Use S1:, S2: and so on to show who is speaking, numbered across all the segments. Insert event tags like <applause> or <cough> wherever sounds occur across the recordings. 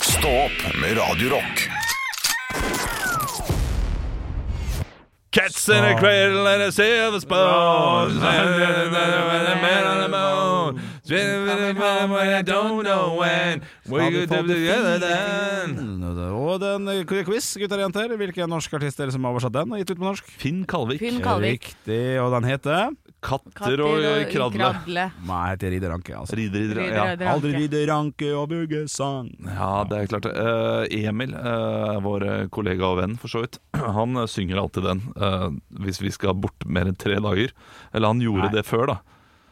S1: Stå opp med Radio Rock.
S2: Cats in a cradle and a silver spoon. I don't know when we could do together then.
S3: Og den eh, quiz, gutter og jenter. Hvilke norske artister som har oversatt den og gitt ut på norsk?
S2: Finn Kalvik.
S4: Finn Kalvik.
S3: Riktig, og den heter
S2: Katter og kradle. <laughs>
S3: Nei, heter Ridderanke, altså.
S2: Rider, rider, ja.
S4: Rider, rider.
S3: Aldri ridderanke og buggesang.
S2: ja, det er klart det. Eh, Emil, eh, vår kollega og venn for så vidt, han eh, synger alltid den eh, hvis vi skal bort mer enn tre dager. Eller han gjorde
S3: Nei.
S2: det før, da.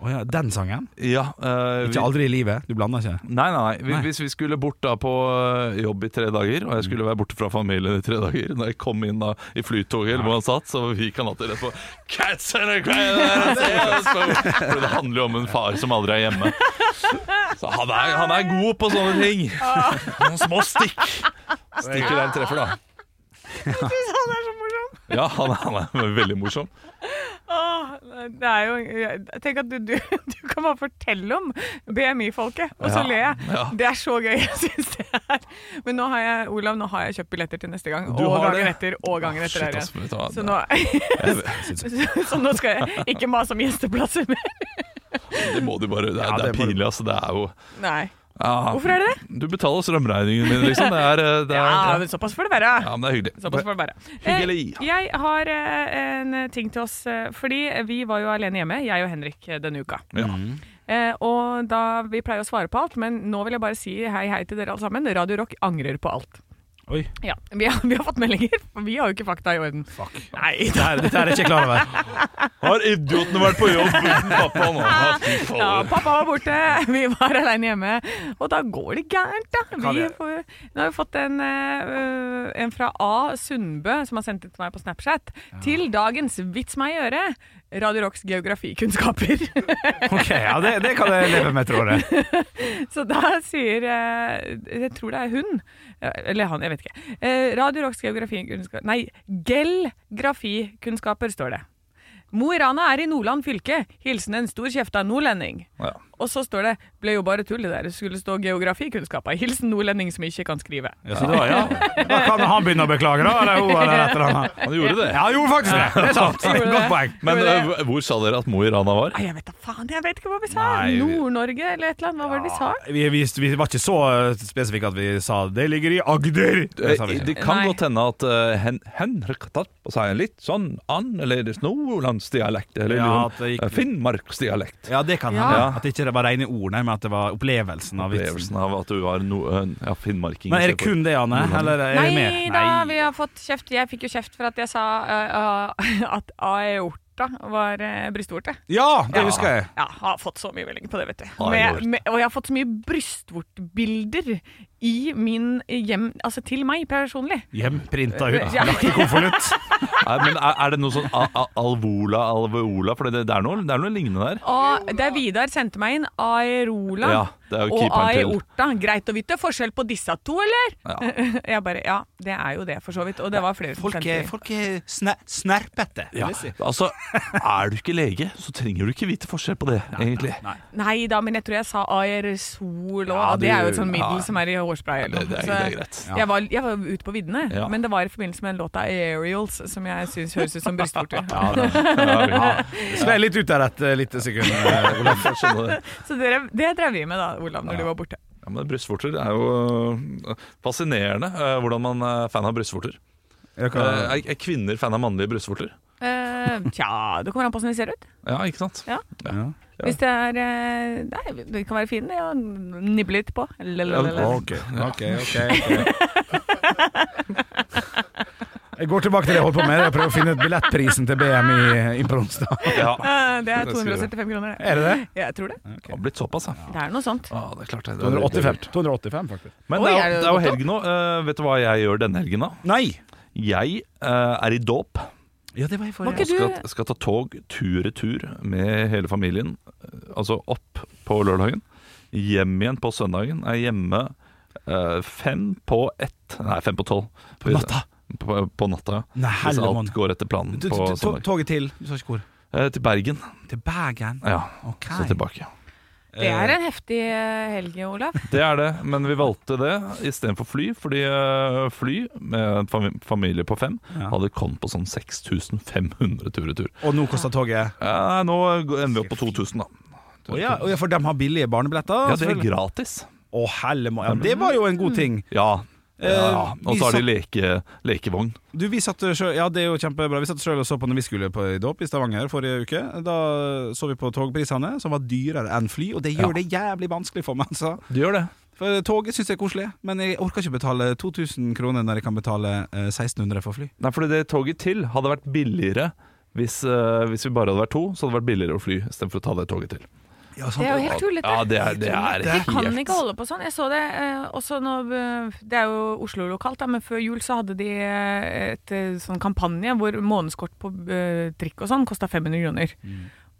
S3: Å ja, den sangen?
S2: Ja, eh, vi-
S3: Ikke Aldri i livet. Du blander ikke?
S2: Nei, nei, nei.
S3: Nei.
S2: Hvis- Hvis vi skulle bort da på ø, jobb i tre dager, og jeg skulle være borte fra familien i tre dager Når jeg kom inn da i flytoget, eller hvor han satt, så gikk han alltid rett på Cats and a crane! For det handler jo om en far som aldri er hjemme. Så han er, han er god på sånne ting. Noen små stikk. Stikker der det treffer, da.
S4: Han er så morsom!
S2: Ja, han, han er veldig morsom.
S4: Åh, det er jo, jeg- tenk at du, <laughs> du, du kan bare fortelle om BMI-folket, og så
S2: Ja,
S4: ler jeg.
S2: ja.
S4: Det er så gøy, jeg synes det er. Men nå har jeg, Olav, nå har jeg kjøpt billetter til neste gang,
S2: Du
S4: og
S2: har
S4: gangen
S2: det?
S4: etter, og gangen etter
S2: Shit,
S4: her
S2: ass,
S4: igjen.
S2: vet du hva.
S4: Så nå, <laughs> så nå skal jeg ikke mase om gjesteplasser mer.
S2: Det må du bare Det er,
S3: Ja,
S2: det er
S3: det må du-
S2: pinlig, altså. Det er jo
S4: Nei.
S2: ja.
S4: Hvorfor er det det?
S2: Du betaler strømregningen min, liksom. Det er, ø, det er
S4: Ja,
S2: ja,
S4: men såpass får det være.
S2: men det er hyggelig.
S4: Såpass får det være.
S2: Hyggelig.
S4: Eh, Jeg har eh, en ting til oss, eh, fordi vi var jo alene hjemme, jeg og Henrik, eh, denne uka.
S2: Ja.
S4: Eh, og da, Vi pleier å svare på alt, men nå vil jeg bare si hei hei til dere alle sammen. Radio Rock angrer på alt.
S3: Oi,
S4: Ja, Vi har, vi har fått meldinger, for vi har jo ikke fakta i orden.
S3: fuck.
S4: Nei,
S3: Dette er, dette er jeg ikke klar over.
S2: Har idiotene vært på jobb uten pappa nå? Ja, fy
S4: Ja,
S2: fader.
S4: pappa var borte, <laughs> vi var aleine hjemme, og da går det gærent, da. Vi får, nå har vi fått en, eh, en fra A. Sundbø, som har sendt det til meg på Snapchat, til dagens Vits meg i øret. Radio Rocks geografikunnskaper.
S3: Ok, ja, det, det kan jeg leve med, tror jeg.
S4: Så da sier eh, Jeg tror det er hun. eh, Eller han, jeg vet ikke. Eh, Radio Rocks geografikunnskaper Nei, gelgrafikunnskaper står det. Mo i Rana er i Nordland fylke. Hilsen en stor kjefta nordlending.
S2: Ja.
S4: Og så står det 'ble jo bare tull det der', det skulle stå 'geografikunnskaper'. Hilsen nordlending som ikke kan skrive.
S3: Ja, så det var, ja. Da kan han begynne å beklage, da. Eller hun, eller et eller annet.
S2: Han gjorde det.
S3: Ja, han gjorde faktisk det. Det er sant.
S4: Gjorde det.
S3: Godt poeng.
S2: Men eh,
S4: Gjorde
S2: ø, hvor sa dere at Mo i Rana var?
S4: Nei, jeg vet da faen, jeg vet ikke hva vi sa!
S2: Nei, vi-
S4: Nord-Norge eller et eller annet, hva var det vi sa?
S3: Vi, vi, vi var ikke så eh, spesifikke at vi sa 'det ligger i Agder'. Det sa vi
S2: Eh,
S3: ikke.
S2: Det kan
S4: Nei.
S2: godt hende at ø, Hen- Henrik har tatt på seg en litt sånn annerledes nordlandsdialekt. Eller
S3: Ja,
S2: ja,
S3: at det gikk-
S2: Finnmarksdialekt.
S3: Ja, det kan
S4: Ja.
S3: hende. At det ikke var rene ord, nei, men at det var opplevelsen av vitsen.
S2: Opplevelsen av at du var no, ø, ja, finnmarking.
S3: Men er det kun det, Anne? Eller er det mer?
S4: Nei da, vi har fått kjeft. Jeg fikk jo kjeft for at jeg sa eh, eh, at aorta var uh, brystvorte.
S3: Ja, det husker jeg.
S4: Ja, har fått så mye meldinger på det, vet du.
S2: Har jeg gjort.
S4: Med, med, og jeg har fått så mye brystvortbilder i min hjem, altså til meg personlig.
S3: Hjemprinta hun.
S4: Ja.
S3: Lagt i konvolutt.
S2: Nei, men er, er det noe sånn a, a, alvola, alveola? For det, det, er noe, det er noe lignende der.
S4: Og der Vidar sendte meg inn Aerola
S2: Ja, det er jo
S4: og
S2: keeperen til.
S4: Aeorta. Greit å vite forskjell på disse to, eller?
S2: Ja.
S4: <laughs> Jeg bare, ja, det er jo det, for så vidt. Og det var flere
S3: <laughs>
S4: som
S3: Folk er,
S4: sendte inn.
S3: folk er sne snerpete. vil
S2: Ja,
S3: jeg si.
S2: altså, er du ikke lege, så trenger du ikke vite forskjell på det, egentlig.
S3: nei.
S4: Nei da, men jeg tror jeg sa aerosol òg.
S2: Ja,
S4: det er jo
S2: du-
S4: et sånt middel
S2: ja.
S4: som er i hårspray.
S2: Det,
S4: Eller.
S2: det,
S4: noe.
S2: er, det er
S4: Så
S2: greit.
S4: Jeg, var, jeg var ute på viddene,
S2: Ja.
S4: men det var i forbindelse med en låt av Aerials som jeg syns høres ut som brystvorter.
S2: <laughs>
S3: Sklei litt ut der et eh, lite sekund. eh, Olav.
S2: Jeg skjønner det.
S4: Så dere, det drev vi med da, Olav, når du var borte.
S2: Ja, men Brystvorter er jo øh, fascinerende øh, hvordan man er fan av brystvorter.
S3: Jeg
S2: Øh,
S3: kan-
S2: Er, er kvinner fan av mannlige brystvorter?
S4: Eh, tja, det kommer an på hvordan de ser ut.
S2: Ja, ikke sant?
S4: Ja.
S3: Ja.
S4: Hvis det er eh, Nei, det kan være fine, det. å Nibble litt på. Lalalala.
S3: Ok, ok, ok. Jeg går tilbake til det jeg holdt på med. Jeg prøver å finne ut billettprisen til BM i Impro Onsdag.
S2: Ja,
S4: Eh, det er
S2: Det skulle det.
S4: 275 kroner, det.
S3: Er det det?
S4: Jeg tror det.
S2: det har blitt såpass, ja.
S4: Det er noe sånt.
S2: Ah, det er klart det. det er veldig
S3: 285,
S2: dyrt.
S3: 285 faktisk.
S2: Men
S4: Oi,
S2: det er,
S4: er
S2: jo-
S4: det
S2: det er jo
S4: godt da?
S2: helg nå. Øh, vet du hva jeg gjør denne helgen, da?
S3: Nei!
S2: Jeg øh, er i dåp.
S3: Ja, det var jeg
S4: Må
S3: forrige.
S4: ikke du
S2: Skal, skal ta tog tur-retur med hele familien. øh, Altså opp på lørdagen, hjem igjen på søndagen. Er hjemme øh, fem på ett Nei, fem på tolv. På
S3: natta?
S2: På, på natta, ja.
S3: Nei,
S2: Hvis
S3: hellemann.
S2: alt går etter planen
S3: Du-
S2: på
S3: du- to-
S2: søndag.
S3: Toget til Du sa ikke hvor.
S2: Eh, til Bergen.
S3: Til Bergen.
S2: Ja,
S3: Ok. Eh,
S2: så tilbake.
S4: Det er en heftig eh, helg, Olav.
S2: Det er det, men vi valgte det istedenfor fly, fordi eh, fly med en fami- familie på fem
S3: Ja.
S2: hadde kommet på sånn 6500 tur-retur.
S3: Og nå koster toget
S2: Ja, Eh, nå ender vi opp på 2000, da.
S3: Å ja, å ja, for de har billige barnebilletter?
S2: Ja, det er
S3: selvfølgelig.
S2: gratis.
S3: Å, helle må- ja, det var jo en god ting.
S2: Ja.
S3: Eh,
S2: ja. Og
S3: vi
S2: så har de
S3: satt-
S2: leke, lekevogn.
S3: Du, vi satt sjøl, ja det er jo kjempebra Vi satt sjøl og så på når vi skulle på dåp i Stavanger forrige uke. Da så vi på togprisene, som var dyrere enn fly, og det gjør det jævlig vanskelig for meg. Altså.
S2: De gjør det.
S3: For toget syns jeg er koselig, men jeg orker ikke betale 2000 kroner når jeg kan betale eh, 1600 for fly.
S2: Nei, fordi det toget til hadde vært billigere hvis, eh, hvis vi bare hadde vært to, så hadde det vært billigere å fly istedenfor å ta det toget til.
S4: Det er jo helt tullete.
S2: Ja, det er, det er
S4: Vi kan
S2: helt
S4: ikke holde på sånn. Jeg så det eh, også nå eh, Det er jo Oslo lokalt, da, men før jul så hadde de eh, et eh, sånn kampanje hvor månedskort på eh, trikk og sånn kosta 500 kroner.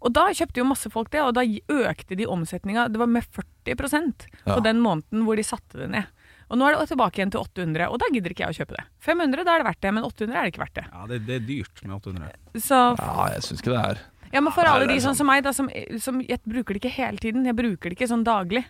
S4: Og da kjøpte jo masse folk det, og da gi- økte de omsetninga. Det var med 40 på
S2: Ja.
S4: den måneden hvor de satte det ned. Og nå er det tilbake igjen til 800, og da gidder ikke jeg å kjøpe det. 500, da er det verdt det, men 800 er det ikke verdt det.
S3: Ja, det, det er dyrt med 800.
S4: Så
S2: Ja, jeg syns ikke det er
S4: ja, men for
S2: Nei,
S4: alle
S2: det er
S4: de sånn som meg, da, som, som jeg bruker det ikke hele tiden. Jeg bruker det ikke sånn daglig.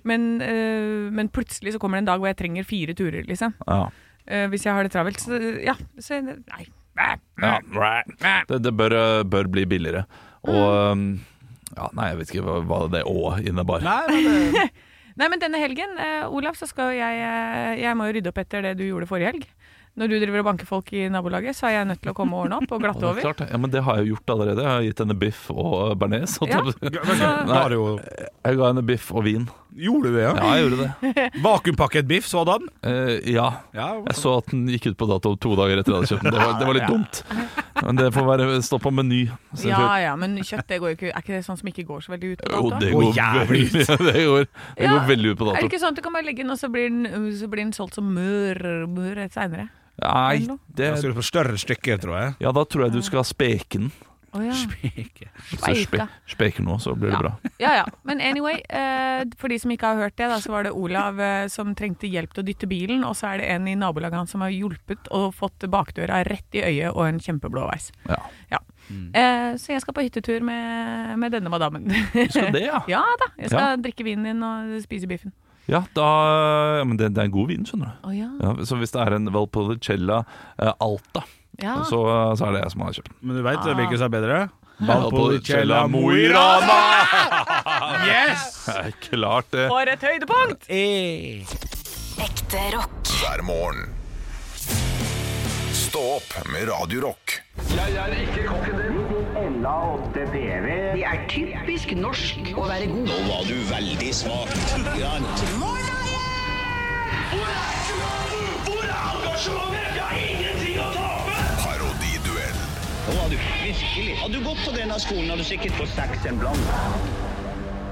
S4: Men, øh, men plutselig så kommer det en dag hvor jeg trenger fire turer, liksom.
S2: Ja.
S4: Øh, hvis jeg har det travelt. Så ja, så Nei.
S2: ja. Det, det bør, eh, bør bli billigere. Og
S4: Mm.
S2: eh, ja, Nei, jeg vet ikke hva, hva det òg innebar.
S3: <laughs> Nei, men
S2: <laughs>
S3: det,
S4: Nei, men denne helgen, eh, Olav, så skal jeg eh, Jeg må jo rydde opp etter det du gjorde forrige helg. Når du driver og banker folk i nabolaget, så er jeg nødt til å komme og ordne opp og
S2: <laughs>
S4: glatte
S2: Ja, det er
S4: over.
S2: klart, det. ja, men det har jeg jo gjort allerede. Jeg har gitt henne biff og eh, bearnés. holdt jeg
S4: Ja.
S2: på å si.
S3: Da
S2: Nei.
S3: er det jo,
S2: Jeg ga henne biff og vin.
S3: gjorde du det,
S2: Ja, jeg gjorde det.
S3: <laughs> Vakuumpakket biff, sådan?
S2: Eh, ja.
S3: Ja,
S2: Jeg så at den gikk ut på dato to dager etter jeg hadde kjøpt den. Det var, det var litt dumt. Men det får være, stå på meny. Så
S4: Ja
S2: jeg
S4: ja, men kjøtt det går jo ikke Er ikke det sånn som ikke går så veldig ut på
S2: tror- Jo,
S4: dato?
S2: det
S3: Å,
S2: går,
S3: jævlig
S2: veldig, <laughs> det går, det
S4: Ja,
S2: går veldig ut på
S4: Er det
S2: dato.
S4: ikke sånn at du kan bare legge den, og så blir den, så blir den solgt som mør, mør seinere?
S2: Nei,
S3: Da
S2: det
S3: skal du på større stykker, tror jeg.
S2: ja, da tror jeg du skal speke den.
S4: Å ja.
S2: Hvis du spe,
S4: Speika.
S2: speker nå, så blir det bra.
S4: Ja, ja. Men anyway, eh, for de som ikke har hørt det, da, så var det Olav eh, som trengte hjelp til å dytte bilen, og så er det en i nabolaget hans som har hjulpet og fått bakdøra rett i øyet og en kjempeblå veis.
S2: Ja.
S4: Ja. Eh, så jeg skal på hyttetur med, med denne madammen. <laughs>
S2: Skal det, ja.
S4: ja da, jeg skal
S2: Ja.
S4: drikke vinen din og spise biffen.
S2: ja da, ja, men det, det er en god vin, skjønner du.
S4: Å ja.
S2: Ja, så hvis det er en Valpolicella eh, Alta,
S4: ja.
S2: så, så er det jeg som har kjøpt den.
S3: Men du veit hvilken som er bedre?
S2: Valpolicella Mo i
S3: Ah.
S2: Rana! Yes! Ja, <laughs> klart det.
S4: For et høydepunkt!
S3: Eh.
S5: Ekte rock.
S1: hver morgen. Stå opp med Radio Rock.
S6: Ella 8 PV. De er typisk norsk å være god.
S7: Nå var du veldig smak. Grann.
S8: Hvor er engasjementet? Jeg har ingenting å tape!
S1: Parodiduell
S7: Nå var du virkelig. Hadde du gått på denne skolen, hadde du sikkert fått seks en blant.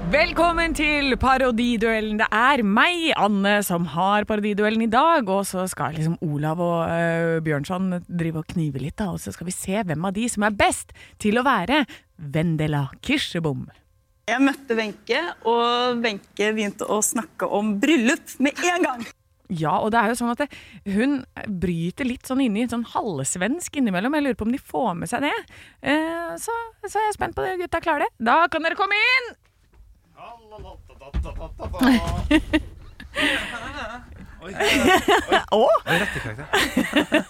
S4: Velkommen til Parodiduellen. Det er meg, Anne, som har Parodiduellen i dag. Og så skal liksom Olav og eh, Bjørnson drive og knive litt, da. Og så skal vi se hvem av de som er best til å være Vendela Kirsebom.
S9: Jeg møtte Wenche, og Wenche begynte å snakke om bryllup med en gang.
S4: Ja, og det er jo sånn at det, hun bryter litt sånn inni, sånn halvsvensk innimellom. Jeg lurer på om de får med seg det. Eh, så, så er jeg spent på det. Gutta klarer det. Da kan dere komme inn! Å! <laughs>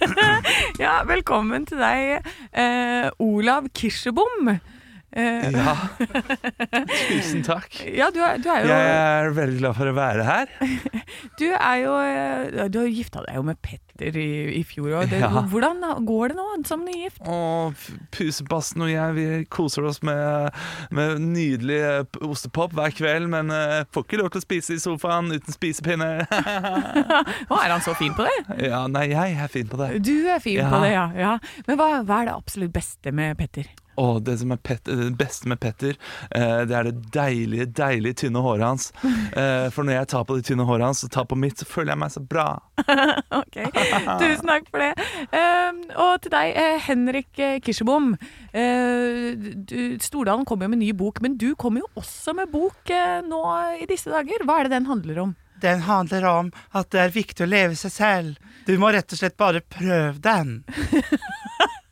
S4: ja, velkommen til deg, eh, Olav Kirsebom. Eh,
S2: Ja. Tusen takk.
S4: ja, du er, du er jo
S2: Jeg er veldig glad for å være her.
S4: Du er jo eh, Du har jo gifta deg jo med Petter i, i fjor òg.
S2: Ja.
S4: Hvordan går det nå som nygift?
S2: Og Pusebassen og jeg vi koser oss med, med nydelig eh, p- ostepop hver kveld, men eh, får ikke lov til å spise i sofaen uten spisepinne. <laughs>
S4: Å, er han så fin på det?
S2: ja, nei, jeg er fin på det.
S4: Du er fin
S2: Ja.
S4: på det, ja. ja. Men hva, hva er det absolutt beste med Petter?
S2: Og det som er pet, det beste med Petter, eh, det er det deilige, deilige tynne håret hans. Eh, for når jeg tar på det tynne håret hans og tar på mitt, så føler jeg meg så bra.
S4: Ok, Tusen takk for det. Ehm, og til deg, eh, Henrik eh, Kirsebom. Eh, du- Stordalen kom jo med ny bok, men du kommer jo også med bok eh, nå i disse dager. Hva er det den handler om?
S10: Den handler om at det er viktig å leve seg selv. Du må rett og slett bare prøve den.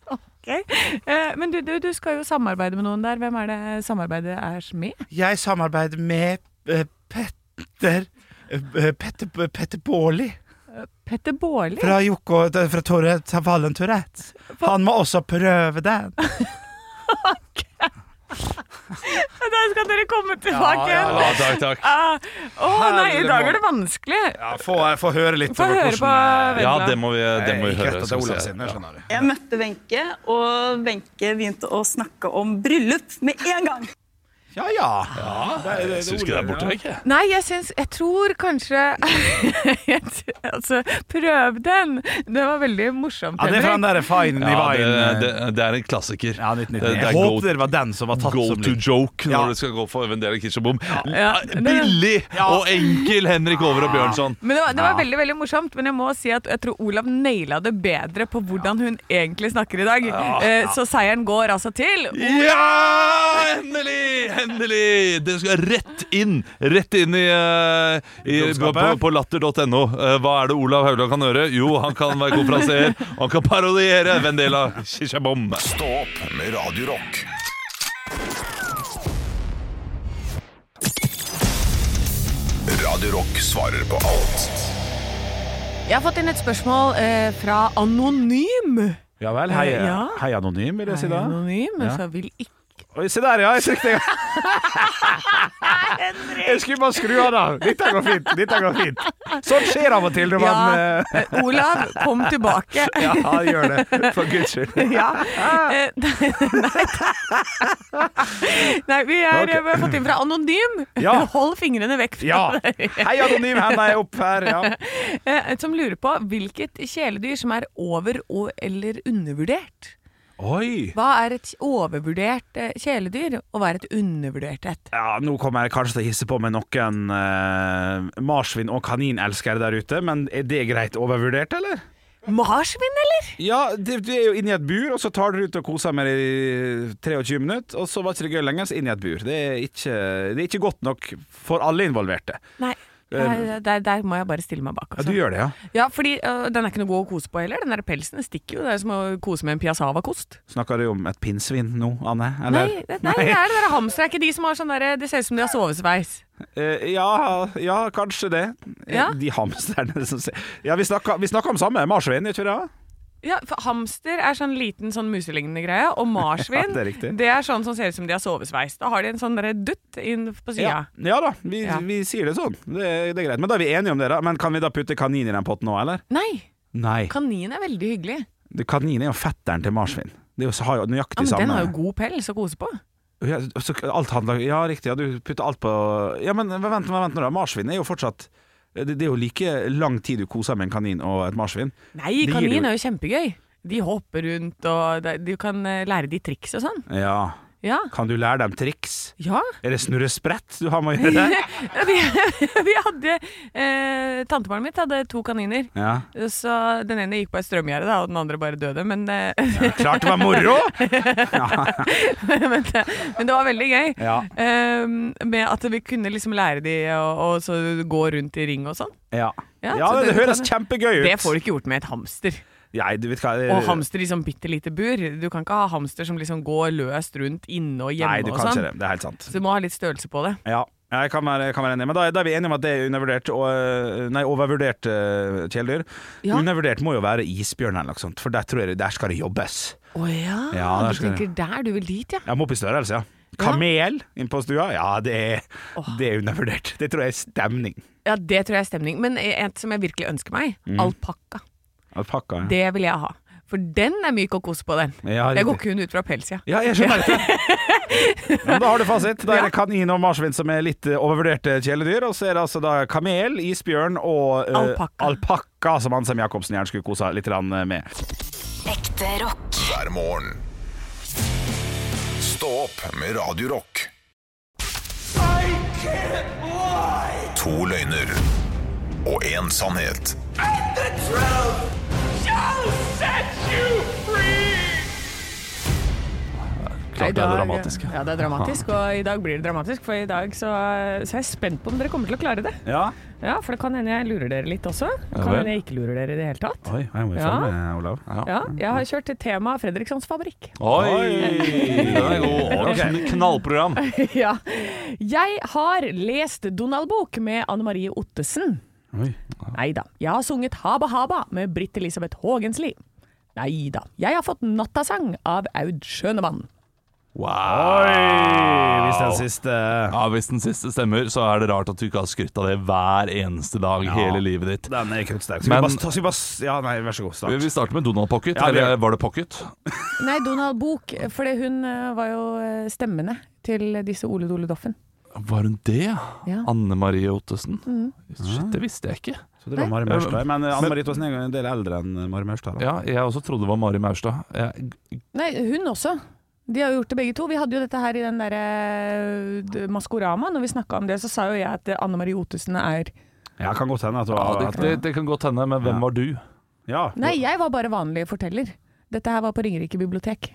S4: ok. Eh, Men du, du, du skal jo samarbeide med noen der. Hvem er det samarbeidet er med?
S10: Jeg samarbeider med eh, Petter eh, Petter, Petter Baarli
S4: Petter Baarli?
S10: fra, Joko- fra Tourette, fra Vallen Tourette. Han må også prøve den.
S4: Der skal dere komme tilbake!
S2: Ja, ja, takk, takk.
S4: Ah, Å nei, i
S3: Herre
S4: dag
S3: mann.
S4: er det vanskelig.
S3: Ja, sånn, eh, få, eh, få høre litt.
S4: Få
S3: over
S4: høre på
S3: hvordan-
S2: Ja,
S4: Vendeland.
S2: det må vi, det må vi
S3: Ikke
S2: høre.
S3: rett at det er
S2: skal vi
S3: Olav
S2: se.
S3: sin, jeg skjønner det.
S9: Jeg møtte Wenche, og Wenche begynte å snakke om bryllup med en gang.
S3: Ja, ja.
S2: Ja, Jeg syns ikke det er borte vekk. jeg.
S4: Nei, jeg syns Jeg tror kanskje <laughs> jeg t- Altså, prøv den! Det var veldig morsomt.
S3: ja, det er fra den
S4: Henrik.
S3: der Fine
S2: Ja, det,
S3: Divine.
S2: det, det er en klassiker.
S3: ja, 1990.
S2: Det er
S3: Jeg
S2: go-
S3: håper det var den som var tatt
S2: Go
S3: som
S2: to
S3: lyd.
S2: joke
S3: Ja.
S2: når du skal gå for Vendela Kirsebom.
S4: Ja, det-
S2: Billig Ah, og enkel Henrik Over og Bjørnson.
S4: Men det var, det var veldig veldig morsomt, men jeg må si at jeg tror Olav naila det bedre på hvordan hun egentlig snakker i dag. Eh, Så seieren går altså til
S2: Ja! Endelig! Endelig! Det skal rett inn Rett inn i, eh, i på,
S3: Klokskapet.
S2: på latter.no. Eh, hva er det Olav Haugland kan gjøre? Jo, han kan være konferansier. Han kan parodiere Vendela Kirsebom.
S1: Stå opp med Radio Rock. Radio Rock svarer på alt.
S4: Jeg har fått inn et spørsmål eh, fra Anonym.
S3: Ja vel. Hei,
S4: Ja.
S3: hei anonym, vil jeg si da.
S4: Anonym,
S3: Ja.
S4: så vil ikke
S3: Oi, se der, ja. Jeg trykte en gang. Jeg skulle bare skru av, da. Dette går fint. Dette går fint. Sånt skjer av og til når man
S4: Ja,
S3: eh, <laughs>
S4: eh, Olav, kom tilbake.
S3: Ja, det gjør det. For guds skyld.
S4: <laughs>
S3: <laughs>
S4: Ja. Eh, <laughs> Nei, nei vi er
S3: Ok.
S4: vi har fått inn fra Anonym.
S3: Ja.
S4: <laughs> Hold fingrene vekk fra
S3: Ja.
S4: deg.
S3: Hei, anonym. Henda er opp her. Ja.
S4: <laughs> Eh, Som lurer på hvilket kjæledyr som er over- og eller undervurdert.
S2: Oi!
S4: Hva er et overvurdert eh, kjæledyr, og hva er et undervurdert et?
S3: Ja, nå kommer jeg kanskje til å hisse på med noen eh, marsvin- og kaninelskere der ute, men er det greit overvurdert, eller?
S4: Marsvin, eller?
S3: Ja, du, du er jo inne i et bur, og så tar du ut og koser med det i 23 minutter, og så var ikke det gøy lenger, så inn i et bur. Det er ikke, det er ikke godt nok for alle involverte.
S4: Nei. Der, der, der må jeg bare stille meg bak.
S3: Eh, Ja,
S4: Altså.
S3: du gjør det, ja.
S4: Ja, fordi øh, Den er ikke noe god å kose på heller. Den der pelsen den stikker jo. Det er som å kose med en piassava-kost.
S3: Snakker du om et pinnsvin nå, Anne?
S4: Nei,
S3: Eller?
S4: det, nei, det er det der hamster. Er ikke de som har sånn derre Det ser ut som de har sovesveis.
S3: Eh, ja, ja, kanskje det. Eh,
S4: Ja.
S3: De hamsterne som ser Ja, vi snakker, vi snakker om samme marsvin, gjør vi ikke det?
S4: Ja, for Hamster er sånn liten sånn muselignende greie, og
S3: <laughs>
S4: marsvin
S3: Ja, det er riktig.
S4: det er sånn som ser ut som de har sovesveis. Da har de en sånn derre dutt inn
S3: Ja,
S4: på sida.
S3: ja da, vi,
S4: Ja.
S3: vi sier det sånn. Det, er- det er greit. Men da er vi enige om det, da. Men kan vi da putte kanin i den potten òg, eller?
S4: Nei,
S3: Nei.
S4: kanin er veldig hyggelig.
S3: Du, Kanin er jo fetteren til marsvin. Det er jo, har jo
S4: Ja,
S3: nøyaktig
S4: men
S3: samme
S4: Den har jo god pels å kose på.
S3: ja, så Alt handler Ja, riktig. Ja, du putter alt på Ja, men vent, vent, vent nå, da. Marsvin er jo fortsatt det, det er jo like lang tid du koser med en kanin og et marsvin.
S4: Nei,
S3: Det gir
S4: kanin
S3: jo-
S4: er jo kjempegøy. De hopper rundt, og de- du kan eh, lære de triks og sånn.
S3: Ja.
S4: Ja.
S3: Kan du lære dem triks?
S4: ja. <laughs>
S3: Er det snurresprett du har med å gjøre?
S4: Ja, Vi, vi hadde eh, Tantebarnet mitt hadde to kaniner.
S3: Ja.
S4: Så Den ene gikk på et strømgjerde, da, og den andre bare døde. Men, eh, <laughs>
S3: Klart det var moro!
S4: men, det, men det var veldig gøy.
S3: Ja.
S4: Eh, med at vi kunne liksom lære de å å så gå rundt i ring og sånn.
S3: Ja,
S4: Ja,
S3: ja,
S4: så
S3: det,
S4: det-
S3: høres kjempegøy ut. Eh.
S4: Det får du ikke gjort med et hamster.
S3: Nei, du vet hva det-
S4: Og hamster i sånn bitte lite bur. Du kan ikke ha hamster som liksom går løst rundt inne og
S3: Nei, du
S4: hjemme og
S3: kan ikke
S4: sånn.
S3: det. Det er helt sant.
S4: Så du må ha litt størrelse på det.
S3: Ja, jeg kan være, jeg kan være enig, men da, da er vi enige om at det er undervurdert og, øh, Nei, overvurdert øh, kjæledyr.
S4: Ja.
S3: Undervurdert må jo være isbjørn eller noe sånt, for der tror jeg der skal det jobbes.
S4: Å ja,
S3: Ja, der
S4: du
S3: skal
S4: tenker der. Du vil dit, ja.
S3: Jeg må opp i størrelse, ja. Kamel inn på stua, ja, det er, det er undervurdert. Det tror jeg er stemning.
S4: Ja, Det tror jeg er stemning. Men et som jeg virkelig ønsker meg,
S3: Mm.
S4: alpakka.
S3: Alpakka. Ja.
S4: Det vil jeg ha. For den er myk å kose på, den.
S3: Ja,
S4: jeg
S3: riktig.
S4: går kun ut fra pels, ja.
S3: Ja, jeg skjønner det. Ja, men da har du fasit. Da er det kanin og marsvin som er litt eh, overvurderte kjæledyr. Og så er det altså da kamel, isbjørn og eh,
S4: Alpakka.
S3: alpakka, som Ansem Jacobsen gjerne skulle kosa litt grann, eh, med.
S5: Ekte rock.
S1: hver morgen. Stå opp med Radio Rock. To løgner og én sannhet.
S4: I
S2: Klart det er
S4: dag-
S2: dramatisk.
S4: Ja, det er dramatisk, og i dag blir det dramatisk. For i dag så, så er jeg spent på om dere kommer til å klare det.
S3: Ja.
S4: Ja, For det kan hende jeg lurer dere litt også. Det
S2: Ja
S4: kan
S2: vel.
S4: hende jeg ikke lurer dere i det hele tatt.
S3: Oi, jeg må jo
S4: Ja.
S3: følge med, Olav.
S4: Ja, Jeg har kjørt til tema Fredrikssons fabrikk.
S2: Oi! Den er god.
S3: Ok.
S2: Knallprogram.
S4: <laughs> ja. Jeg har lest Donald-bok med Anne Marie Ottesen.
S3: Oi.
S4: Nei da. Jeg har sunget Haba Haba med Britt Elisabeth Haagensli. Nei da. Jeg har fått Nattasang av Aud Schønemann.
S2: Wow.
S3: Hvis den siste
S2: Ja, Hvis den siste stemmer, så er det rart at du ikke har skrytt av det hver eneste dag hele livet ditt.
S3: Den er kruttsterk.
S2: Men-
S3: Skal vi bare ta skal vi bare s- Ja, nei, vær så god.
S2: Vi-
S3: Start.
S2: Vi starter med Donald Pocket.
S3: Ja, vi-
S2: Eller var det Pocket?
S4: Nei, Donald-bok, for hun eh, var jo eh, stemmene til disse Ole Dole Doffen.
S2: Var hun det?
S4: Ja.
S2: Anne Marie Ottesen? Shit, det visste jeg ikke.
S3: Så det var Mari Maurstad. Men eh, Anne Marie Thåsen er jo en del eldre enn eh, Mari Maurstad. da.
S2: Ja, jeg også trodde det var Mari Maurstad. Jeg-
S4: Nei, hun også. De har jo gjort det begge to. Vi hadde jo dette her i den derre eh, Maskorama. Når vi snakka om det, så sa jo jeg at eh, Anne Marie Ottesen er
S3: Ja, kan godt hende at det
S2: Ja,
S3: var
S2: det, det, det kan godt hende, men hvem
S3: Ja.
S2: var du?
S3: Ja.
S4: Nei, jeg var bare vanlig forteller. Dette her var på Ringerike bibliotek.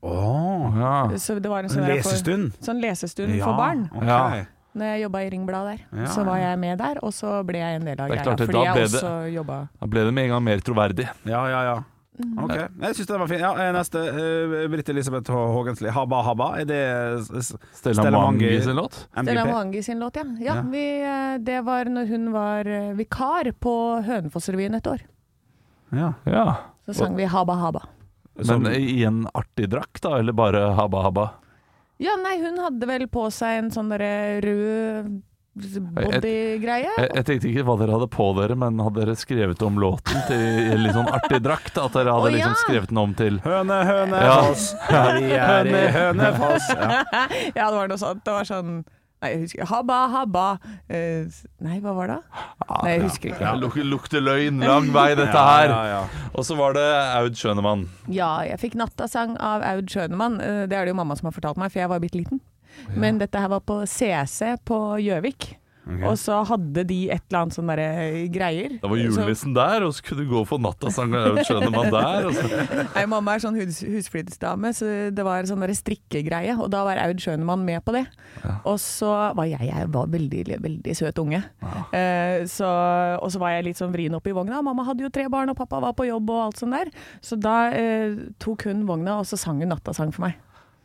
S3: Åh,
S2: Ja.
S4: Så det var en sånn, der for,
S3: lesestund.
S4: sånn lesestund
S3: Ja,
S4: for barn.
S3: ok.
S2: Ja.
S4: Når jeg jobba i Ringbladet der,
S3: Ja,
S4: så
S3: ja.
S4: var jeg med der, og så ble jeg en del av
S2: Det er
S4: greia.
S2: klart det,
S4: Fordi
S2: da
S4: jeg
S2: ble det-
S4: også jobba
S2: Da ble det med en gang mer troverdig.
S3: Ja, ja, ja.
S4: Mm.
S3: Ok, jeg syns den var fin. Ja, eh, neste. eh, Britt Elisabeth H- Haagensli. Habba Habba. Er det s- s-
S2: Stella
S3: Stella
S2: Mange
S3: Mange.
S2: sin låt.
S4: Stella
S3: MVP?
S4: Mohangi sin låt, ja. ja,
S3: Ja.
S4: Vi, eh, det var når hun var eh, vikar på Hønefoss-revyen et år.
S3: Ja.
S2: Ja.
S4: Så sang vi Haba Haba.
S2: Men i en artig drakt, da? Eller bare habba habba?
S4: Ja, nei, hun hadde vel på seg en sånn derre rød bodygreie.
S2: Jeg, jeg tenkte ikke hva dere hadde på dere, men hadde dere skrevet om låten til i en litt sånn artig drakt? At dere hadde
S4: Å, ja.
S2: liksom skrevet den om til
S3: Høne,
S2: <laughs>
S3: høne,
S2: Ja.
S3: foss. Ja, vi er i Hønefoss. Ja.
S4: Ja, det var noe sånt. Det var sånn Nei, jeg husker Haba Haba eh, Nei, hva var det? Nei, jeg husker ikke.
S2: ja, luk, Lukter løgn lang vei, dette her.
S3: Ja, ja,
S2: Og så var det Aud Schønemann.
S4: Ja, jeg fikk nattasang av Aud Schønemann. Eh, Det er det jo mamma som har fortalt meg, for jeg var bitte liten. Men dette her var på CC på Gjøvik. Og så hadde de et eller annet sånn derre greier.
S2: Det var
S4: Så-
S2: julenissen der, og så kunne du gå for nattasang av Aud Schønemann der. Og så.
S4: Nei, mamma er sånn hus husflidsdame, så det var sånn der strikkegreie, og da var Aud Schønemann med på det. Og så var jeg, jeg var veldig, veldig søt unge. Eh, så, og så var jeg litt sånn vrien opp i vogna. Mamma hadde jo tre barn, og pappa var på jobb og alt sånt der. Så da eh, tok hun vogna, og så sang hun nattasang for meg.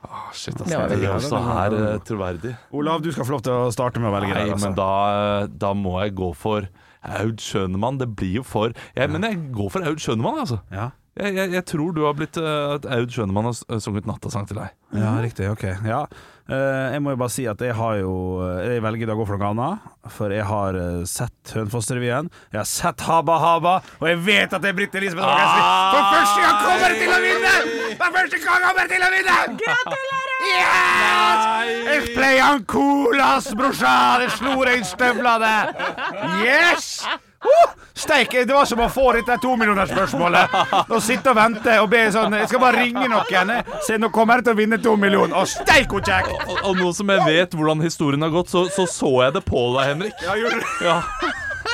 S2: Å, shit, ass,
S4: Det var
S2: det
S4: veldig
S2: er også her eh, troverdig.
S3: Olav, du skal få lov til å starte med å velge.
S2: Nei,
S3: der, altså.
S2: men da, eh, da må jeg gå for Aud Schønemann. Det blir jo for jeg, Men jeg går for Aud Schønemann, altså.
S3: ja.
S2: Jeg, jeg, jeg tror du har blitt eh, at Aud Schønemann har s- sunget nattasang til deg.
S3: ja, riktig. Ok. Ja. Eh, jeg må jo bare si at jeg har jo eh, Jeg velger i dag å gå for noe annet, for jeg har eh, sett Hønefoss-revyen. Jeg har sett Habba Habba, og jeg vet at det er Britt Elisabeth Haagensen! For første gang kommer jeg til å vinne! For første gang kommer jeg til å vinne! Gratulerer! Yes! Jeg play han colas, brorsan! Jeg slo deg i støvlene! Yes! Uh, Steike, det var som å få dette tomillionersspørsmålet. Å sitte og vente og be sånn Jeg skal bare ringe noen. Se, nå kommer jeg til å vinne to millioner. Og steik hvor kjekt!
S2: Og, og nå som jeg vet hvordan historien har gått, så så, så jeg det på deg, Henrik.
S3: Ja, gjorde du det?
S2: Ja.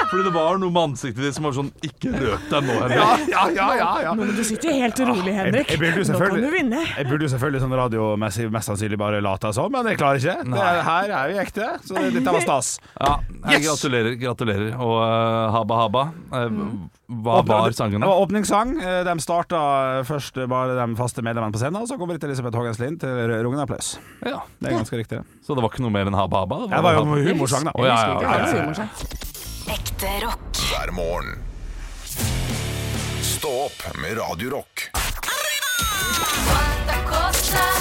S2: Fordi det var noe med ansiktet ditt som var sånn Ikke røp deg nå, Henrik.
S3: Ja, ja, ja, ja, ja.
S4: Men du sitter jo helt rolig, Henrik.
S3: Ah, Jeg, jeg burde jo
S4: Nå kan du
S3: selvfølgelig,
S4: vinne.
S3: jeg burde jo selvfølgelig sånn radiomessig mest sannsynlig bare late som, men jeg klarer ikke. Det er, her er vi ekte, så det- dette var stas.
S2: Ja, jeg
S3: Yes!
S2: Gratulerer. gratulerer Og eh, Habba Habba. eh, hva var
S3: Mm. Det
S2: sangene?
S3: var åpningssang. Eh, De starta først bare de faste medlemmene på scenen, og så kom Britt Elisabeth Haagens Lind til rungende applaus.
S2: Ja.
S3: Det er ganske riktig. det.
S2: Så det var ikke noe mer enn Habba Habba?
S3: Det var jo noe humorsang, da.
S2: Å, ja, ja, ja, ja, ja.
S5: Ekte rock.
S1: hver morgen. Stå opp med Radio Rock.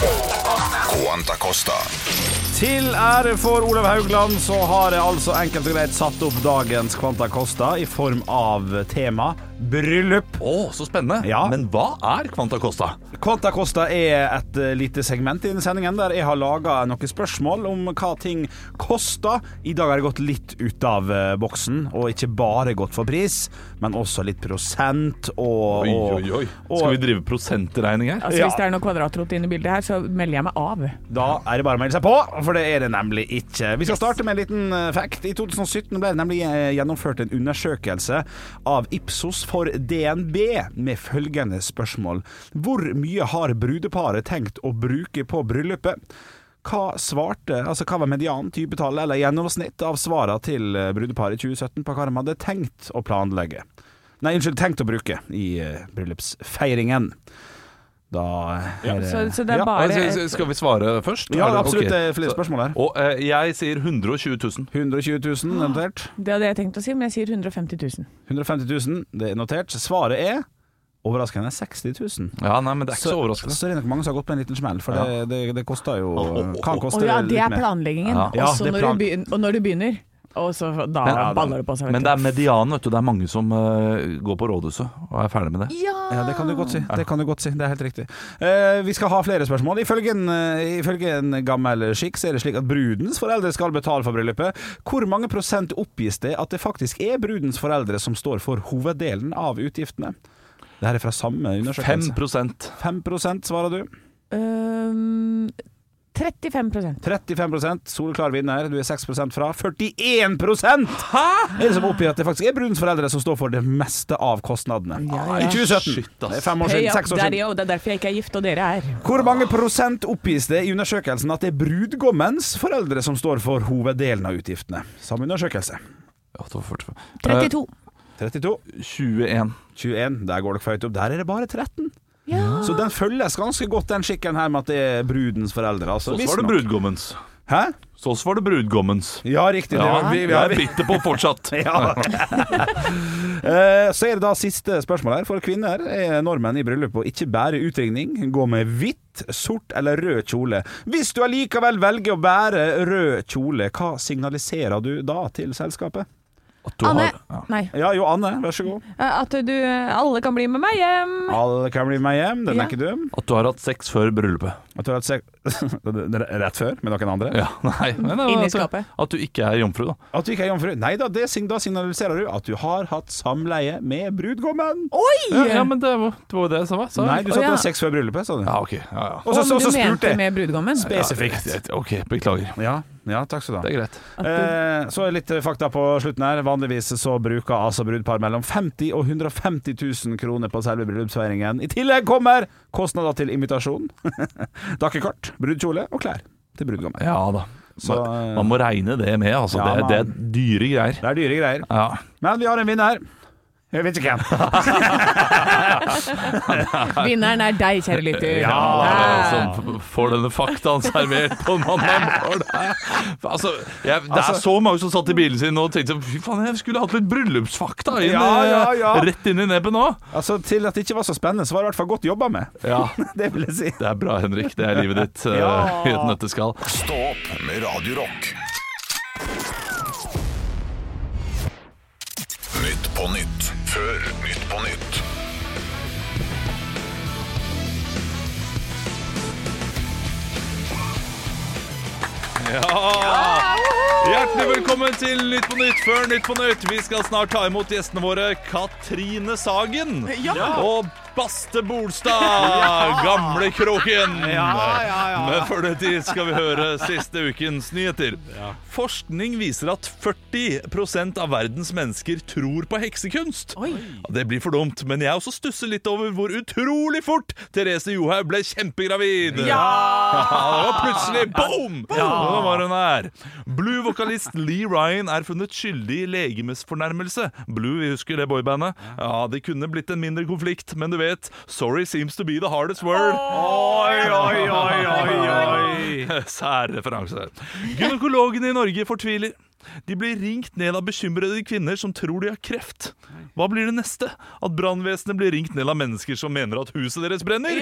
S1: Quanta Costa.
S3: Til ære for Olav Haugland så har jeg altså enkelt og greit satt opp dagens Kvanta Kosta i form av tema bryllup.
S2: Å, så spennende.
S3: Ja.
S2: Men hva er Quanta Costa?
S3: Kvanta Kosta er et eh, lite segment i denne sendingen der jeg har laga noen spørsmål om hva ting koster. I dag har jeg gått litt ut av eh, boksen, og ikke bare gått for pris, men også litt prosent og
S2: Oi, oi, oi.
S3: og-
S2: Skal vi drive prosentregning her?
S4: Altså,
S3: Ja.
S4: Hvis det er noe kvadratrot inne i bildet her, så så melder jeg meg av.
S3: Da er det bare å melde seg på, for det er det nemlig ikke. Vi skal starte med en liten eh, fact. I 2017 ble det nemlig eh, gjennomført en undersøkelse av Ipsos for DNB med følgende spørsmål. Hvor mye har brudeparet tenkt å bruke på bryllupet? Hva svarte, altså hva var median typetall eller gjennomsnitt av svarene til eh, brudeparet i 2017 på hva de hadde tenkt å planlegge? Nei, unnskyld, tenkt å bruke i eh, bryllupsfeiringen. Da eh, er det
S4: Så, så det er
S3: Ja.
S4: bare
S2: Altså, s- Skal vi svare først?
S3: Ja,
S2: Er det-
S3: absolutt.
S2: ok.
S3: Det er flere spørsmål her.
S2: Og eh, jeg sier 120 000.
S3: 120 000 eventuelt.
S4: Det hadde jeg tenkt å si, men jeg sier 150 000.
S3: 150 000, det er notert. Svaret er overraskende 60 000.
S2: Ja, nei, men det er ikke så overraskende.
S3: Så er det nok mange som har gått på en liten smell, for det, det, det koster jo Kan
S4: Å
S3: koste
S4: ja, det
S3: litt
S4: er
S3: mer.
S4: planleggingen.
S2: Ja.
S3: Ja,
S4: Og så
S3: det er
S4: når,
S3: plan-
S4: du begyn- og når du begynner, og så da
S2: Men-
S4: baller det på seg. vet
S2: Men
S4: du.
S2: det er medianen, vet du. Det er mange som eh, går på rådhuset og er ferdig med det.
S3: Ja, det kan du godt si. Det kan du godt si, det er helt riktig. Eh, vi skal ha flere spørsmål. Ifølge en, eh, ifølge en gammel skikk så er det slik at brudens foreldre skal betale for bryllupet. Hvor mange prosent oppgis det at det faktisk er brudens foreldre som står for hoveddelen av utgiftene? Det her er fra samme
S2: 5
S3: undersøkelse. 5 svarer du.
S4: Øhm, 35
S3: 35 soleklar vinner. Du er 6 fra. 41 Hæ? er det som oppgir at det faktisk er brudens foreldre som står for det meste av kostnadene.
S4: Ja,
S3: I
S4: ja.
S3: 2017.
S2: Shit, ass.
S3: det er fem år
S4: Pay
S3: siden.
S4: up,
S3: Seks år
S4: der,
S3: siden.
S4: jo, det er derfor jeg ikke er gift, og dere er.
S3: Hvor mange prosent oppgis det i undersøkelsen at det er brudgommens foreldre som står for hoveddelen av utgiftene? Samme undersøkelse.
S4: 32.
S3: 32.
S2: Eh, 21.
S3: 21. Der går dere for høyt opp. Der er det bare 13. Så den følges ganske godt, den skikken her med at det er brudens foreldre.
S2: Så
S3: Altså,
S2: var det
S3: visstnok.
S2: brudgommens.
S3: Hæ?
S2: Så var det brudgommens.
S3: Ja, riktig. Det
S2: Ja,
S3: var-
S2: vi, vi er bitte på fortsatt. <laughs>
S3: Ja. <laughs> Eh, Så er det da siste spørsmål her. For kvinner er nordmenn i bryllup og ikke bære utringning. Gå med hvitt, sort eller rød kjole. Hvis du allikevel velger å bære rød kjole, hva signaliserer du da til selskapet?
S2: At du
S4: Anne!
S2: har- ja.
S4: Nei. Eh,
S3: Ja, jo, Anne, vær så god.
S4: At du Alle kan bli med meg hjem!
S3: Alle kan bli med hjem. Den
S4: Ja.
S3: er ikke dum.
S2: At du har hatt sex før bryllupet. <laughs>
S3: At du har hatt sex <laughs> Rett før med noen andre?
S2: Ja, nei, men det var
S4: Inni
S2: at du-
S4: skapet.
S2: At du ikke er jomfru, da.
S3: At du ikke er jomfru? Nei da, det, sign- da signaliserer du at du har hatt samleie med brudgommen.
S2: Ja, ja, men det var det var jo det jeg sa. hva? sa jeg?
S3: Nei, du sa at du
S4: Å, ja.
S3: har sex før bryllupet, sa du.
S2: Ja, ok. Ja, ja.
S3: Og så,
S4: Å,
S3: så, så
S4: men du
S3: spurte
S4: mente
S3: jeg.
S4: med brudgommen?
S3: Spesifikt.
S2: Ja, ja, ok, beklager.
S3: Ja, ja, takk skal du ha.
S2: Det er greit.
S3: Eh, så litt fakta på slutten her. Vanligvis så bruker altså brudpar mellom 50 og 150 000 kroner på selve bryllupsfeiringen. I tillegg kommer kostnader til invitasjon, <laughs> dakkekart, brudekjole og klær til brudgommen.
S2: Ja da.
S3: Så,
S2: man, man må regne det med, altså.
S3: Ja,
S2: det,
S3: man-
S2: det er dyre greier.
S3: Det er dyre greier.
S2: Ja.
S3: Men vi har en vinner. Jeg vet ikke
S2: <laughs>
S3: hvem.
S4: Vinneren er deg, kjære lytter.
S2: Ja, da,
S4: Ja.
S3: Ah.
S2: altså, f- får denne faktaen servert på mandag morgen. Altså, jeg, det er så mange som satt i bilen sin og tenkte sånn, fy faen, jeg skulle hatt litt bryllupsfakta inn,
S3: Ja, ja, ja.
S2: eh, rett inn i nebbet nå.
S3: Altså, til at det ikke var så spennende, så var det i hvert fall godt jobba med. <laughs>
S2: Ja,
S3: Det vil jeg si.
S2: det er bra, Henrik. Det er livet ditt eh,
S3: Ja.
S2: i et nøtteskall.
S1: Stå opp med Radio Rock. Nytt på nytt. Før Nytt på nytt.
S2: Hjertelig velkommen til Nytt på Nytt før Nytt på Nytt. Vi skal snart ta imot gjestene våre Katrine Sagen og Baste Bolstad. Gamle Kroken. Men før det tid skal vi høre siste ukens nyheter. Forskning viser at 40 av verdens mennesker tror på heksekunst. Ja, Det blir for dumt, men jeg også stusser litt over hvor utrolig fort Therese Johaug ble kjempegravid. Ja, det var plutselig boom! Ja, da var hun her. Blue-vokalist Lee Ryan er funnet skyldig i legemsfornærmelse. Blue, vi husker det boybandet? Ja, det kunne blitt en mindre konflikt, men du vet, sorry seems to be the hardest word. Oi, oi, oi,
S3: <laughs>
S2: oi, oi. <laughs> Sær referanse. Gynekologene i Norge fortviler. De blir ringt ned av bekymrede kvinner som tror de har kreft. Hva blir det neste? At brannvesenet blir ringt ned av mennesker som mener at huset deres brenner?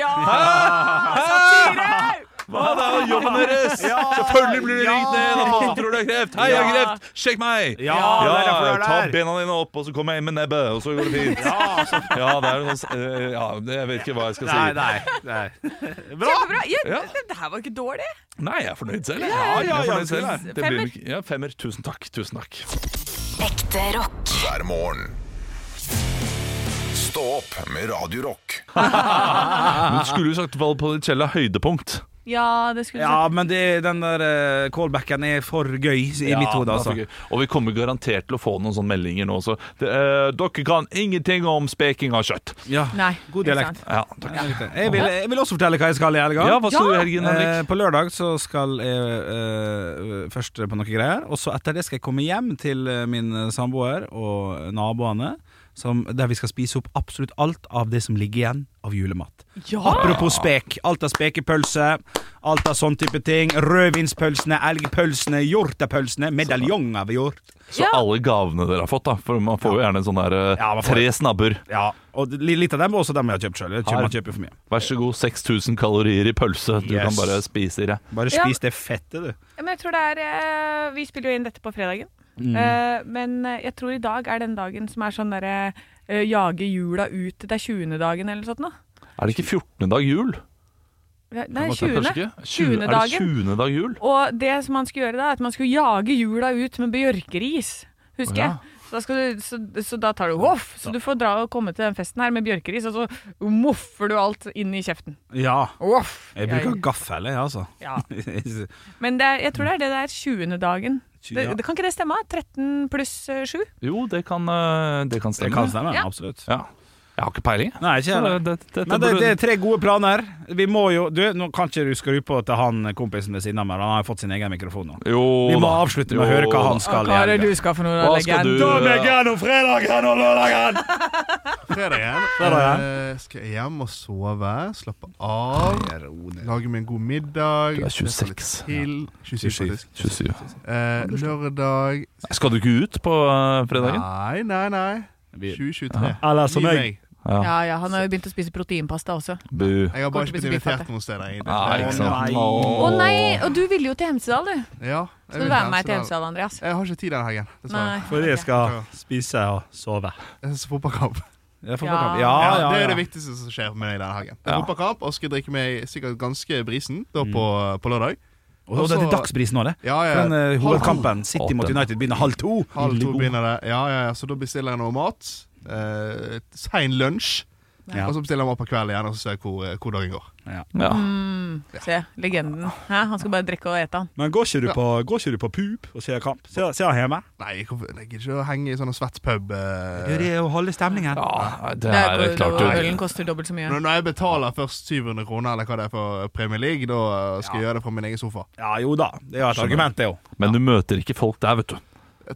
S2: Hva da, jobben deres? Selvfølgelig blir du ringt ned av folk som tror du har kreft. Hei, jeg har kreft! Sjekk meg! Ja,
S10: det er derfor du er
S2: Ta
S10: der.
S2: bena dine opp, og så kommer jeg inn med nebbet, og så går det fint. Ja, det er noe sånn eh, Ja, det- jeg vet ikke hva jeg skal si. Nei,
S4: Kjempebra. Ja,
S2: Ja.
S4: Det her var ikke dårlig.
S2: jeg er fornøyd selv. Ja,
S3: ja, ja,
S2: selv. Det blir, ikke- ja, femmer. Tusen takk. Tusen takk.
S5: Ekte rock.
S1: Hver morgen. Stå opp med Radio Rock.
S2: Hun skulle jo sagt Valpolicella høydepunkt.
S4: Ja, det skulle du
S3: Ja, men det, den der eh, callbacken er for gøy i mitt hode, altså.
S2: det er for gøy. Og vi kommer garantert til å få noen sånne meldinger nå. Så det, eh, dere kan ingenting om speking av kjøtt.
S3: Ja.
S4: sagt. Nei,
S3: God
S4: ikke
S3: dialekt.
S4: sant.
S2: Ja, takk.
S3: Jeg vil, jeg vil også fortelle hva jeg skal i helga.
S2: ja hva skal du i
S4: Ja.
S2: helgen, Henrik?
S3: Eh, på lørdag så skal jeg eh, først på noen greier, og så etter det skal jeg komme hjem til eh, min samboer og naboene, som, der vi skal spise opp absolutt alt av det som ligger igjen av julemat.
S4: Ja!
S3: Apropos spek. Alt av spekepølse, alt av sånn type ting. Rødvinspølsene, elgpølsene, hjortepølsene, medaljong av hjort.
S2: Så
S4: Ja.
S2: alle gavene dere har fått, da. For man får jo gjerne en sånn der eh,
S3: Ja, man får
S2: tre
S3: det.
S2: snabber.
S3: Ja, og li- litt av dem var også dem jeg har kjøpt sjøl. Jeg kjøper, man kjøper for mye.
S2: Vær så god, 6000 kalorier i pølse. Du
S3: Yes.
S2: kan bare spise i det.
S3: Bare
S4: Ja.
S3: spis det fettet, du.
S4: Men jeg tror det er eh, Vi spiller jo inn dette på fredagen. Eh, men eh, jeg tror i dag er den dagen som er sånn derre eh, jage jula ut. Det er 20. dagen eller noe sånt nå.
S2: Er det ikke 14. dag jul?
S4: Ja, Nei,
S2: Kanskje
S4: 20.
S2: ikke?
S4: 20.
S2: Er det
S4: dagen.
S2: 20. dag jul?
S4: Og det som man skulle gjøre da, er at man skulle jage jula ut med bjørkeris. Husker
S2: Ja.
S4: jeg. Så da, skal du, så, så da tar du voff, så du får dra og komme til den festen her med bjørkeris, og så moffer du alt inn i kjeften.
S3: Ja.
S4: Voff!
S3: Jeg bruker gaffel, jeg, altså. <laughs>
S4: Ja. Men det er, jeg tror det er det der 20. dagen. Det, det, kan ikke det stemme? 13 pluss eh, 7?
S2: Jo, det kan, eh, det kan
S3: det
S2: stemme.
S3: kan stemme,
S4: Ja.
S3: absolutt.
S2: Ja. Jeg har ikke peiling. jeg.
S3: Nei,
S2: Så
S3: ikke
S2: det,
S3: jeg. heller.
S2: det, dette
S3: Men det,
S2: burde-
S3: det er tre gode planer. Vi må jo Du, nå kan ikke du skru på til han kompisen ved siden av meg. Han har jo fått sin egen mikrofon nå.
S2: jo,
S3: Vi må
S2: da.
S3: avslutte med å
S2: Jo,
S3: høre hva
S2: da.
S3: han skal i helga.
S4: skal for noe?
S2: Hva skal du eh,
S3: gjennom fredagen og lørdagen!
S11: Fredagen.
S3: Fredagen.
S11: Eh, skal jeg hjem og sove, slappe av, lage meg en god middag.
S2: Du er 26.
S11: Til, 27, faktisk.
S2: 27.
S11: Eh, lørdag
S2: Skal du ikke ut på eh, fredagen?
S11: Nei, nei, nei. 2023.
S3: Eller
S11: Gi
S3: som jeg.
S11: meg.
S4: Ja, ja, han har jo begynt å spise proteinpasta også.
S2: Bu.
S11: Jeg har
S4: Kommer til å
S11: bare ikke blitt
S4: bli så biffete.
S11: invitert noen steder. egentlig.
S2: Ah, ikke sant.
S3: nei.
S4: Å nei, og du ville jo til Hemsedal, du.
S11: Ja, jeg
S4: Skal
S11: vil
S4: du være med meg til
S11: Hemsedal.
S4: Hemsedal, Andreas?
S11: Jeg har ikke tid denne helgen. Dessverre.
S4: Nei.
S3: For jeg
S4: ok.
S3: skal spise og sove.
S11: Jeg synes Fotballkamp.
S3: Ja,
S4: Ja.
S3: ja,
S11: Ja,
S3: ja,
S11: Det er
S3: ja.
S11: det viktigste som skjer med meg denne helgen. Jeg er Fotballkamp, og skal drikke meg sikkert ganske brisen da på, på lørdag.
S3: Og det er til dagspris nå, det.
S11: Mm. Ja, ja.
S3: Den eh, hovedkampen City
S2: Åtte.
S3: mot United begynner halv to.
S11: Halv to begynner det. eh, Ja, ja, ja. Så da bestiller jeg noe mat. Eh, sein lunsj.
S3: Ja.
S11: Og så bestiller jeg mat på kvelden igjen, og så ser jeg hvor, eh, hvor dagen går.
S2: Ja.
S4: Se, legenden. Hæ? Han skal bare drikke og ete, han.
S3: Men går ikke du på, går ikke du på pub og ser kamp? Ser ser han hjemme?
S11: Nei, jeg kan- jeg gidder ikke å henge i sånn svett pub. eh.
S3: Det er å holde stemningen.
S2: ja, det
S4: Der
S2: er
S4: går-
S2: klart du
S4: Ølen koster dobbelt så mye.
S11: Når når jeg betaler først 700 kroner eller hva det er for eh, Premier League, da eh, skal jeg gjøre det fra min egen sofa.
S3: Ja, jo da. Det er jo et argument, det jo.
S2: Men du møter ikke folk der, vet du.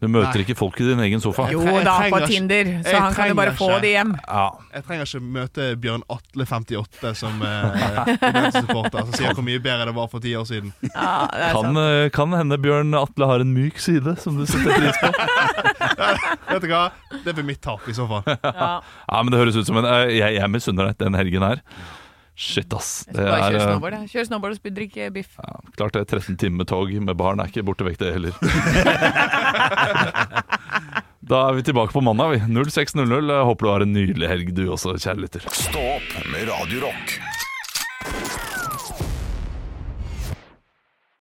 S2: Du møter
S11: Nei.
S2: ikke folk i din egen sofa.
S11: Jo.
S4: Jo
S11: Jeg
S4: da, på
S11: trenger ikke-
S4: Tinder, så
S11: jeg
S4: han kan jo bare
S11: trenger
S4: få
S11: ikke.
S4: det hjem.
S2: Ja.
S11: Jeg trenger ikke møte Bjørn Atle 58 som eh, <laughs> United-supporter, som sier hvor mye bedre det var for ti år siden.
S4: Ja, det er
S2: Kan,
S4: sant.
S2: eh, kan hende Bjørn Atle har en myk side som du setter
S4: <laughs>
S2: pris på.
S11: Vet du hva? Det blir mitt tap i så fall.
S4: Ja.
S2: Ja, men det høres ut som en eh, Jeg, jeg misunner deg den helgen her. Shit, ass. Det
S4: Bare
S2: er
S4: kjør
S2: eh,
S4: snowboard, da. Kjør snowboard og sp- drikk eh, biff.
S2: ja, klart det. 13 timer med tog med barn er ikke borte vekk, det
S4: <laughs>
S2: heller. Da er vi eh, tilbake på mandag, vi. 06.00. Jeg Håper du har en nydelig helg, du også, kjære lytter.
S1: Stå opp med Radio Rock.